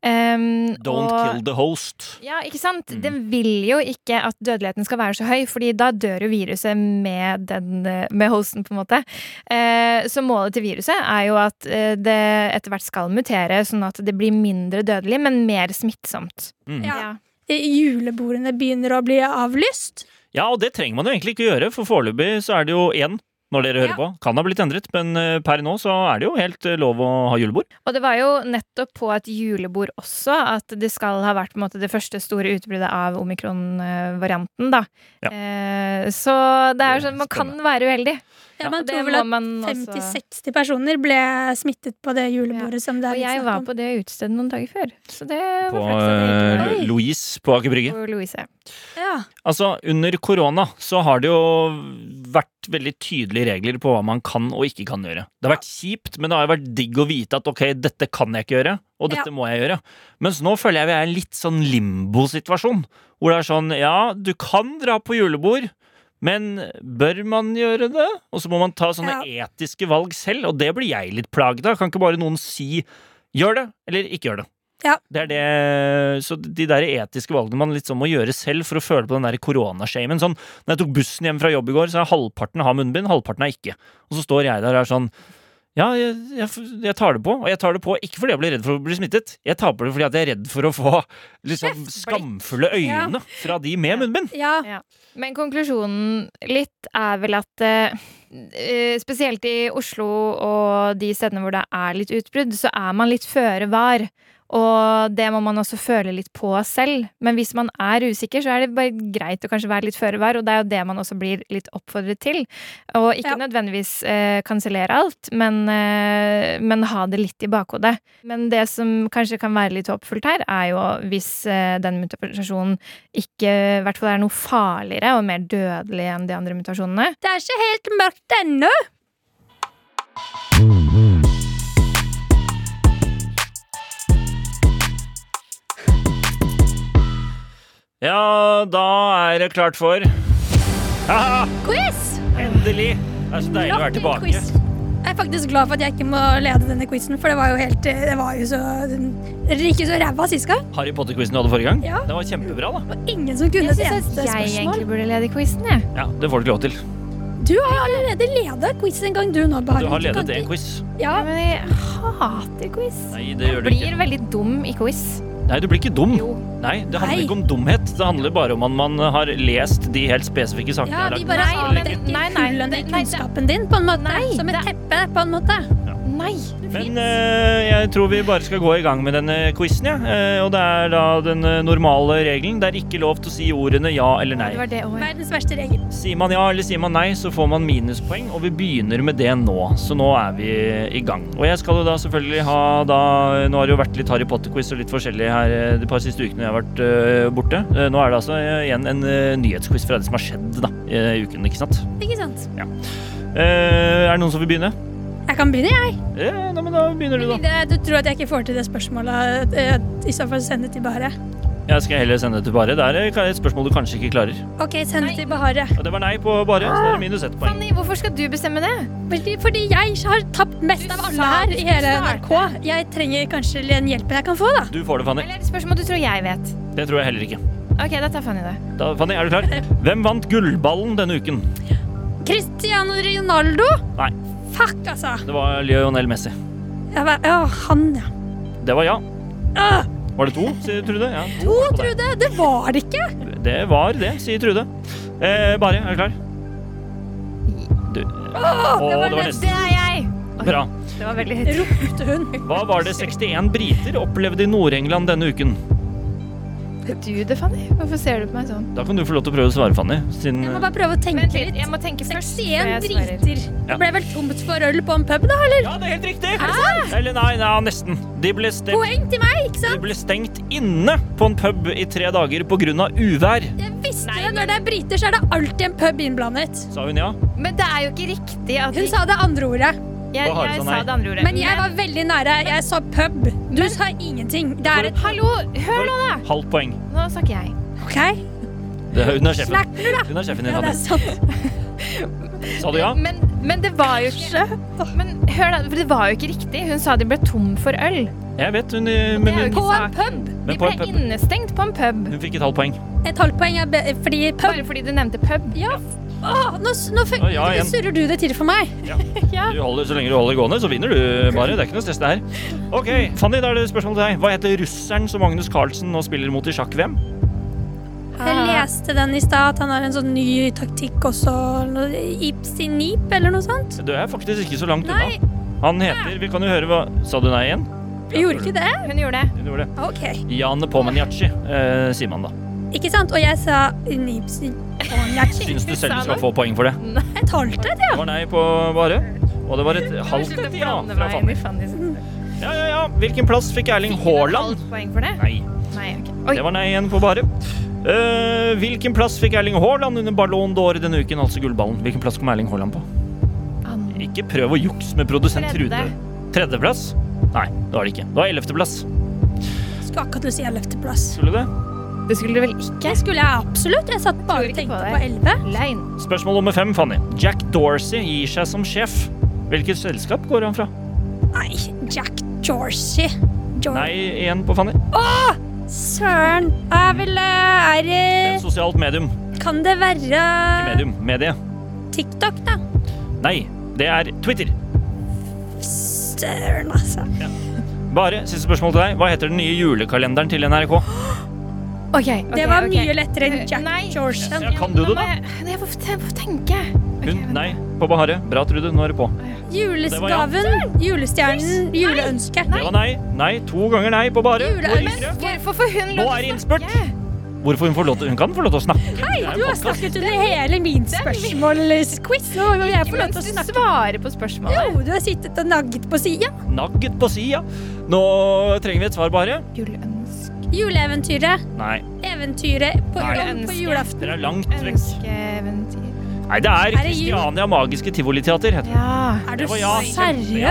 [SPEAKER 4] Um,
[SPEAKER 2] Don't
[SPEAKER 4] og-
[SPEAKER 2] kill the host.
[SPEAKER 4] Ja, ikke sant?
[SPEAKER 2] Mm.
[SPEAKER 4] Den vil jo ikke at dødeligheten skal være så høy, fordi da dør jo viruset med, den, eh, med hosten, på en måte. Eh, så målet til viruset er jo at eh, det etter hvert skal mutere, sånn at det blir mindre dødelig, men mer smittsomt.
[SPEAKER 2] Mm.
[SPEAKER 3] Ja. Eh, Julebordene begynner å bli avlyst.
[SPEAKER 2] Ja, og det trenger man jo egentlig ikke gjøre, for foreløpig så er det jo én når dere hører
[SPEAKER 3] Ja.
[SPEAKER 2] på. Kan ha blitt endret, men eh, per nå så er det jo helt eh, lov å ha julebord.
[SPEAKER 4] Og det var jo nettopp på et julebord også at det skal ha vært på en måte, det første store utbruddet av omikron-varianten. da.
[SPEAKER 2] Ja.
[SPEAKER 4] Eh, så det er
[SPEAKER 2] Det er
[SPEAKER 4] sånn, man kan være uheldig.
[SPEAKER 3] Ja,
[SPEAKER 2] Ja,
[SPEAKER 3] man
[SPEAKER 4] Det
[SPEAKER 3] tror vel
[SPEAKER 4] må
[SPEAKER 3] at
[SPEAKER 4] man også-
[SPEAKER 3] 50-60 personer ble smittet på det julebordet som det
[SPEAKER 4] Og
[SPEAKER 3] er litt
[SPEAKER 4] jeg
[SPEAKER 3] snakk
[SPEAKER 4] var
[SPEAKER 3] om.
[SPEAKER 4] liksom på det utestedet noen dager før. Så det var
[SPEAKER 2] På
[SPEAKER 4] flaks at jeg ikke var
[SPEAKER 2] eh,
[SPEAKER 3] Oi.
[SPEAKER 2] Louise på Aker Brygge.
[SPEAKER 4] på Louise.
[SPEAKER 3] Ja.
[SPEAKER 2] Altså, under korona så har det jo vært veldig tydelige regler på hva man kan og ikke kan gjøre. Det har vært kjipt, men det har jo vært digg å vite at ok, dette kan jeg ikke gjøre, og dette
[SPEAKER 3] Ja.
[SPEAKER 2] må jeg gjøre. Mens nå føler jeg vi er i en litt sånn limbo-situasjon, hvor det er sånn, ja, du kan dra på julebord, men bør man gjøre det? Og så må man ta sånne etiske valg selv, og det blir jeg litt plaget av. Kan ikke bare noen si gjør det, eller ikke gjør det?
[SPEAKER 3] Ja.
[SPEAKER 2] Det er det, så de der etiske valgene man litt sånn må gjøre selv for å føle på den der koronashamen. Sånn, når jeg tok bussen hjem fra jobb i går, så er halvparten har munnbind, halvparten har ikke. Og så står jeg der og er sånn ja, jeg, jeg, jeg tar det på, og jeg tar det på ikke fordi jeg blir redd for å bli smittet. Jeg tar på det fordi at jeg er redd for å få liksom, skamfulle øyne fra de med munnbind.
[SPEAKER 3] ja.
[SPEAKER 4] Men konklusjonen litt er vel at eh, eh, spesielt i Oslo og de stedene hvor det er litt utbrudd, så er man litt føre var. Og det må man også føle litt på selv. Men hvis man er usikker, så er det bare greit å kanskje være litt føre var, og det er jo det man også blir litt oppfordret til. Og ikke
[SPEAKER 3] Ja.
[SPEAKER 4] nødvendigvis eh, kansellere alt, men, eh, men ha det litt i bakhodet. Men det som kanskje kan være litt håpfullt her, er jo hvis eh, den mutasjonen ikke i hvert fall er noe farligere og mer dødelig enn de andre mutasjonene.
[SPEAKER 3] Det er ikke helt mørkt ennå.
[SPEAKER 2] Ja, da er det klart for Haha,
[SPEAKER 3] Quiz!
[SPEAKER 2] Endelig! Det er så deilig å være
[SPEAKER 3] Nok en
[SPEAKER 2] tilbake.
[SPEAKER 3] quiz. Jeg er faktisk glad for at jeg ikke må lede denne quizen, for det var jo helt eh, Det var jo så Dere gikk jo så ræva sist gang.
[SPEAKER 2] Harry Potter-quizen du hadde forrige gang,
[SPEAKER 3] Ja.
[SPEAKER 2] den var kjempebra, da.
[SPEAKER 3] Det var ingen som kunne
[SPEAKER 4] Jeg
[SPEAKER 3] et
[SPEAKER 4] syns
[SPEAKER 3] eneste
[SPEAKER 4] at jeg
[SPEAKER 3] spørsmål.
[SPEAKER 4] egentlig burde lede quizen, jeg.
[SPEAKER 2] Ja, Det får du ikke lov til.
[SPEAKER 3] Du har jo allerede leda quiz en gang, du nå, Bahareh.
[SPEAKER 2] Du har
[SPEAKER 3] kan
[SPEAKER 2] ledet
[SPEAKER 3] ikke-
[SPEAKER 2] én quiz.
[SPEAKER 3] Ja,
[SPEAKER 4] Men jeg hater quiz.
[SPEAKER 2] Nei, det gjør du
[SPEAKER 4] Blir
[SPEAKER 2] ikke. Mm.
[SPEAKER 4] veldig dum i quiz.
[SPEAKER 2] Nei, du blir ikke dum.
[SPEAKER 4] Jo.
[SPEAKER 2] Nei, det handler
[SPEAKER 3] Nei.
[SPEAKER 2] ikke om dumhet. Det handler bare om at man har lest de helt spesifikke sakene.
[SPEAKER 3] ja,
[SPEAKER 2] jeg har
[SPEAKER 3] vi
[SPEAKER 2] lagt.
[SPEAKER 3] bare
[SPEAKER 4] Nei, men-
[SPEAKER 3] avdekker
[SPEAKER 4] nei, nei,
[SPEAKER 3] hullene i
[SPEAKER 4] det- nei, det-
[SPEAKER 3] kunnskapen din, på en måte.
[SPEAKER 4] Nei,
[SPEAKER 3] Som et
[SPEAKER 4] det-
[SPEAKER 3] teppe, på en måte.
[SPEAKER 4] Nei. det
[SPEAKER 2] Men
[SPEAKER 4] finnes.
[SPEAKER 2] eh, jeg tror vi bare skal gå i gang med denne quizen, Ja. Eh, og det er da den eh, normale regelen. Det er ikke lov til å si ordene ja eller nei.
[SPEAKER 4] Det var det året.
[SPEAKER 3] Verdens verste regel.
[SPEAKER 2] Sier man ja eller sier man nei, så får man minuspoeng, og vi begynner med det nå. Så nå er vi i gang. Og jeg skal jo da selvfølgelig ha da Nå har det jo vært litt Harry Potter-quiz og litt forskjellig her eh, de par siste ukene jeg har vært eh, borte. Eh, Nå er det altså eh, igjen en eh, nyhetsquiz fra det som har skjedd da, i uken, ikke sant?
[SPEAKER 3] Ikke sant?
[SPEAKER 2] Eh, er det noen som vil begynne?
[SPEAKER 3] Jeg kan begynne, jeg.
[SPEAKER 2] Eh, nei, men da begynner du, da.
[SPEAKER 3] Det, du tror at jeg ikke får til det spørsmålet. eh, I så fall send det til Bahareh.
[SPEAKER 2] Jeg skal heller sende det til Bare. Det er et spørsmål du kanskje ikke klarer.
[SPEAKER 3] Ok, send det til Bahareh.
[SPEAKER 2] Og det var nei på Bare, så da er det minus ett poeng.
[SPEAKER 4] Fanny, hvorfor skal du bestemme det?
[SPEAKER 3] Fordi, fordi jeg har tapt mest
[SPEAKER 4] Du
[SPEAKER 3] av
[SPEAKER 4] sa
[SPEAKER 3] alle her
[SPEAKER 4] du
[SPEAKER 3] i
[SPEAKER 4] skulle
[SPEAKER 3] hele
[SPEAKER 4] starte.
[SPEAKER 3] NRK. Jeg trenger kanskje den hjelpen jeg kan få, da.
[SPEAKER 2] Du får det, Fanny.
[SPEAKER 4] Eller er det spørsmål du tror jeg vet?
[SPEAKER 2] Det tror jeg heller ikke.
[SPEAKER 4] OK, dette er funny, det.
[SPEAKER 2] Da, Fanny, er du klar? Hvem vant gullballen denne uken?
[SPEAKER 3] Cristiano Ronaldo?
[SPEAKER 2] Nei.
[SPEAKER 3] Fuck, altså.
[SPEAKER 2] Det var Lionel Messi.
[SPEAKER 3] Jeg var, ja, han, ja.
[SPEAKER 2] Det var ja.
[SPEAKER 3] Ah,
[SPEAKER 2] Var det to, sier Trude? Ja.
[SPEAKER 3] to, Trude. Det var det ikke.
[SPEAKER 2] Det var det, sier Trude. Eh, Bare, er du klar? Du. Å, Ah, det var nesten.
[SPEAKER 4] Det er jeg!
[SPEAKER 2] Bra.
[SPEAKER 4] Det var veldig
[SPEAKER 3] Ropte hun.
[SPEAKER 2] Hva var det 61 briter opplevde i Nord-England denne uken?
[SPEAKER 4] Du det, Fanny. Hvorfor ser du på meg sånn?
[SPEAKER 2] Da kan du få lov til å prøve å svare, Fanny. Siden,
[SPEAKER 3] Jeg må bare prøve å tenke
[SPEAKER 4] Vent litt,
[SPEAKER 3] litt.
[SPEAKER 4] jeg må tenke først. før
[SPEAKER 3] 61
[SPEAKER 4] jeg svarer.
[SPEAKER 3] driter.
[SPEAKER 2] Ja.
[SPEAKER 3] Det ble vel tomt for øl på en pub, da, eller?
[SPEAKER 2] ja, det er helt riktig! Eller nei, nei, nesten. De ble, stengt,
[SPEAKER 3] Poeng til meg, ikke
[SPEAKER 2] de
[SPEAKER 3] sant?
[SPEAKER 2] ble stengt inne på en pub i tre dager pga. uvær.
[SPEAKER 3] Jeg visste det. Når det er briter, så er det alltid en pub innblandet.
[SPEAKER 2] Sa hun ja?
[SPEAKER 4] Men det er jo ikke riktig at
[SPEAKER 3] Hun sa det andre ordet,
[SPEAKER 4] Jeg,
[SPEAKER 2] Hva har
[SPEAKER 4] jeg
[SPEAKER 2] du sånn sa
[SPEAKER 4] sa
[SPEAKER 2] nei?
[SPEAKER 4] det andre ordet.
[SPEAKER 3] men jeg var veldig nære. Jeg sa pub. Du sa ingenting. Det er et
[SPEAKER 4] Hallo, hør nå, da!
[SPEAKER 2] Halvt poeng.
[SPEAKER 4] Nå snakker jeg.
[SPEAKER 3] OK?
[SPEAKER 2] Det, hun er sjefen.
[SPEAKER 3] Snakk nå, da.
[SPEAKER 2] Hun er sjefen din,
[SPEAKER 3] Ja, det
[SPEAKER 2] Fanny.
[SPEAKER 3] er sant.
[SPEAKER 2] Sa du ja?
[SPEAKER 4] Men, men det var jo ikke Men hør da, for det var jo ikke riktig. Hun sa de ble tom for øl.
[SPEAKER 2] Jeg vet, hun, eh, men,
[SPEAKER 4] Det er
[SPEAKER 2] hun,
[SPEAKER 4] jo ikke
[SPEAKER 3] På en
[SPEAKER 4] sak.
[SPEAKER 3] pub.
[SPEAKER 4] De
[SPEAKER 2] men på
[SPEAKER 4] ble
[SPEAKER 2] en pub.
[SPEAKER 4] innestengt på en pub.
[SPEAKER 2] Hun fikk et halvt poeng.
[SPEAKER 3] Et halvt poeng er be fordi pub
[SPEAKER 4] Bare fordi du nevnte pub.
[SPEAKER 3] Ja. Åh, nå s- nå fun-
[SPEAKER 2] Å, ja, igjen.
[SPEAKER 3] nå surrer du det til for meg.
[SPEAKER 4] Ja.
[SPEAKER 2] Du holder, så lenge du holder gående, så vinner du bare. Det er ikke noe stress, det her. OK, Fanny, da er det spørsmål til deg. Hva heter russeren som Magnus Carlsen nå spiller mot i sjakk-VM?
[SPEAKER 3] Jeg leste den i stad, at han har en sånn ny taktikk også. noe- Ipsi nip, eller noe sånt.
[SPEAKER 2] Du er faktisk ikke så langt
[SPEAKER 3] Nei,
[SPEAKER 2] unna. Han heter Vi kan jo høre hva Sa du nei igjen?
[SPEAKER 3] jeg gjorde ikke det.
[SPEAKER 4] Hun gjorde det.
[SPEAKER 2] Du gjorde det.
[SPEAKER 3] Ok.
[SPEAKER 2] Jan Pomenjaci, eh, sier man da.
[SPEAKER 3] Ikke sant? Og jeg sa nipsi konjakki.
[SPEAKER 2] Syns du selv du skal få poeng for det.
[SPEAKER 3] Et halvt et,
[SPEAKER 2] Det
[SPEAKER 3] ja.
[SPEAKER 2] var nei på bare. Og det var et halvt et ja fra Fanny. Ja, ja, ja. Hvilken plass fikk Erling Haaland?
[SPEAKER 4] Poeng for det?
[SPEAKER 2] Nei.
[SPEAKER 4] Nei, ok.
[SPEAKER 2] Det
[SPEAKER 4] Oi,
[SPEAKER 2] var nei igjen på bare. Eh, hvilken plass fikk Erling Haaland under Ballon d'Or denne uken, altså gullballen? Hvilken plass kom Erling Haaland på?
[SPEAKER 4] an-
[SPEAKER 2] Ikke prøv å jukse med produsent
[SPEAKER 4] Tredje.
[SPEAKER 2] Trude. Tredjeplass? Nei, det var det ikke. Det var ellevteplass.
[SPEAKER 3] Skal akkurat til å si ellevteplass.
[SPEAKER 2] Skulle det?
[SPEAKER 4] det skulle du vel ikke?
[SPEAKER 3] Det skulle jeg absolutt. Jeg satt bare
[SPEAKER 4] Tror
[SPEAKER 3] og
[SPEAKER 4] ikke
[SPEAKER 3] tenkte
[SPEAKER 4] på
[SPEAKER 3] på elleve.
[SPEAKER 4] Løgn.
[SPEAKER 2] Spørsmål nummer fem, Fanny. Jack Dorsey gir seg som sjef. Hvilket selskap går han fra?
[SPEAKER 3] Nei, Jack Dorsey. Jor-
[SPEAKER 2] Nei igjen på Fanny.
[SPEAKER 3] Søren. Er vel eh, Er
[SPEAKER 2] Et
[SPEAKER 3] det
[SPEAKER 2] sosialt medium.
[SPEAKER 3] Kan det være
[SPEAKER 2] Medium. Medie.
[SPEAKER 3] TikTok, da?
[SPEAKER 2] Nei, det er Twitter.
[SPEAKER 3] Søren, altså.
[SPEAKER 2] Bare, siste spørsmål til deg. Hva heter den nye julekalenderen til NRK?
[SPEAKER 4] Ok, ok,
[SPEAKER 3] Det var
[SPEAKER 4] ok.
[SPEAKER 3] mye lettere enn Jack
[SPEAKER 4] Nei.
[SPEAKER 3] Jorsen.
[SPEAKER 2] Ja, kan du det,
[SPEAKER 4] Nå
[SPEAKER 2] da?
[SPEAKER 4] må jeg- Nei, Jeg får te- får tenke. Ok,
[SPEAKER 2] Hun,
[SPEAKER 4] vent.
[SPEAKER 2] nei, på Bahare. Bra, Trude. Nå er du på.
[SPEAKER 3] Julesgaven, julestjernen, juleønsket.
[SPEAKER 2] Det var nei. Nei, to ganger nei på Bahare. Hvor
[SPEAKER 3] Julearmen.
[SPEAKER 2] gikk det?
[SPEAKER 4] Hvorfor får hun lov
[SPEAKER 2] Nå er
[SPEAKER 4] til
[SPEAKER 2] det
[SPEAKER 4] å
[SPEAKER 2] innspurt.
[SPEAKER 4] snakke?
[SPEAKER 2] Hvorfor hun får lov til Hun kan få lov til å snakke. Det er en
[SPEAKER 3] Du har
[SPEAKER 2] podcast.
[SPEAKER 3] snakket under hele min spørsmålsquiz. Nå må jeg få lov
[SPEAKER 4] Mens
[SPEAKER 3] til å
[SPEAKER 4] du
[SPEAKER 3] snakke.
[SPEAKER 4] svarer på spørsmålet.
[SPEAKER 3] Jo, du har sittet og nagget på sida.
[SPEAKER 2] Nugget på sida. Nå trenger vi et svar, Bahare.
[SPEAKER 4] Juleønske
[SPEAKER 3] Juleeventyret.
[SPEAKER 2] Nei,
[SPEAKER 3] Eventyret på,
[SPEAKER 2] Nei.
[SPEAKER 3] jul- på julaften.
[SPEAKER 2] dere er langt vekk.
[SPEAKER 4] Ønskeeventyr.
[SPEAKER 2] Nei, det er
[SPEAKER 3] Er det jul?
[SPEAKER 2] Kristiania Magiske Tivoliteater. heter det.
[SPEAKER 4] Ja.
[SPEAKER 3] Er du
[SPEAKER 2] Det var ja. Ja,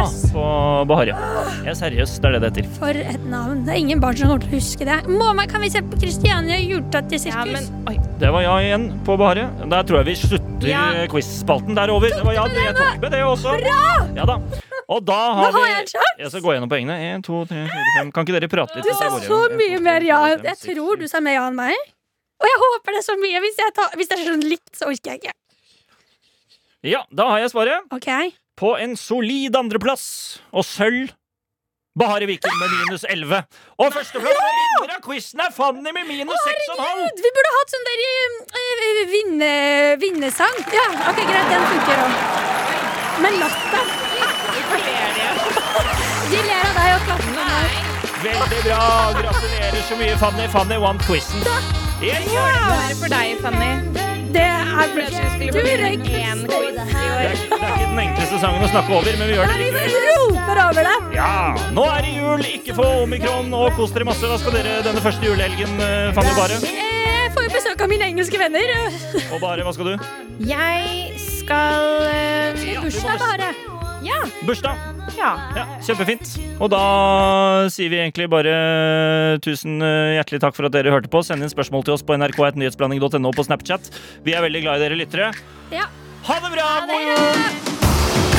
[SPEAKER 3] seriøs?
[SPEAKER 2] på Bahare. Jeg er seriøs, det er det det heter.
[SPEAKER 3] For et navn. Det er ingen barn som kommer til å huske det. Mamma, kan vi se på Christiania Hjultatt i
[SPEAKER 4] ja, men
[SPEAKER 3] sirkus?
[SPEAKER 4] oi.
[SPEAKER 2] Det var ja igjen på Bahare. Der tror jeg vi slutter
[SPEAKER 4] Ja.
[SPEAKER 2] eh, quiz-spalten. Det er over. Det var ja, det jeg tok med det også. Ja da. Og da har
[SPEAKER 3] har
[SPEAKER 2] vi
[SPEAKER 3] jeg en sjanse.
[SPEAKER 2] Jeg skal gå gjennom poengene. En, to, tre, fire, fem. Kan ikke dere prate litt?
[SPEAKER 3] Du sa så mye mer ja. Jeg tror du sa mer ja enn meg. Og jeg håper det er så mye. Hvis, jeg tar, hvis det er sånn litt, så orker jeg ikke.
[SPEAKER 2] Ja, da har jeg svaret.
[SPEAKER 3] Ok?
[SPEAKER 2] På en solid andreplass og sølv Bahare Viken med minus 11. Og førsteplass og vinner av quizen er Fanny med minus 6,5.
[SPEAKER 3] Gud, vi burde hatt sånn der eh, vinne, vinnesang. Ja, ok, greit, den funker òg. Men latter. De ler av deg og klapper for meg.
[SPEAKER 2] Veldig bra. Gratulerer så mye, Fanny. Fanny vant quizen. Yes,
[SPEAKER 4] Bare for deg, Fanny.
[SPEAKER 3] Det er
[SPEAKER 4] Jeg trodde vi
[SPEAKER 3] Du
[SPEAKER 4] skulle få
[SPEAKER 3] røyk.
[SPEAKER 4] én quiz i
[SPEAKER 2] Det er
[SPEAKER 4] år.
[SPEAKER 2] ikke det er ikke den enkleste sangen å snakke over, men vi gjør det
[SPEAKER 3] Vi
[SPEAKER 2] likevel.
[SPEAKER 3] bare roper over deg.
[SPEAKER 2] Ja, Nå er det jul, ikke få omikron og kos dere masse. Hva skal dere denne første julehelgen, eh, Fanny Bare?
[SPEAKER 3] Jeg får jo besøk av mine engelske venner.
[SPEAKER 2] Og Bare, hva skal du?
[SPEAKER 4] Jeg skal eh,
[SPEAKER 3] Bursdag bare.
[SPEAKER 4] Ja.
[SPEAKER 2] Bursdag.
[SPEAKER 4] ja.
[SPEAKER 2] Ja, Kjempefint. Og da sier vi egentlig bare tusen eh, hjertelig takk for at dere hørte på. Send inn spørsmål til oss på nrk.nyhetsblanding.no på Snapchat. Vi er veldig glad i dere lyttere.
[SPEAKER 3] Ja.
[SPEAKER 2] Ha det bra! God jul!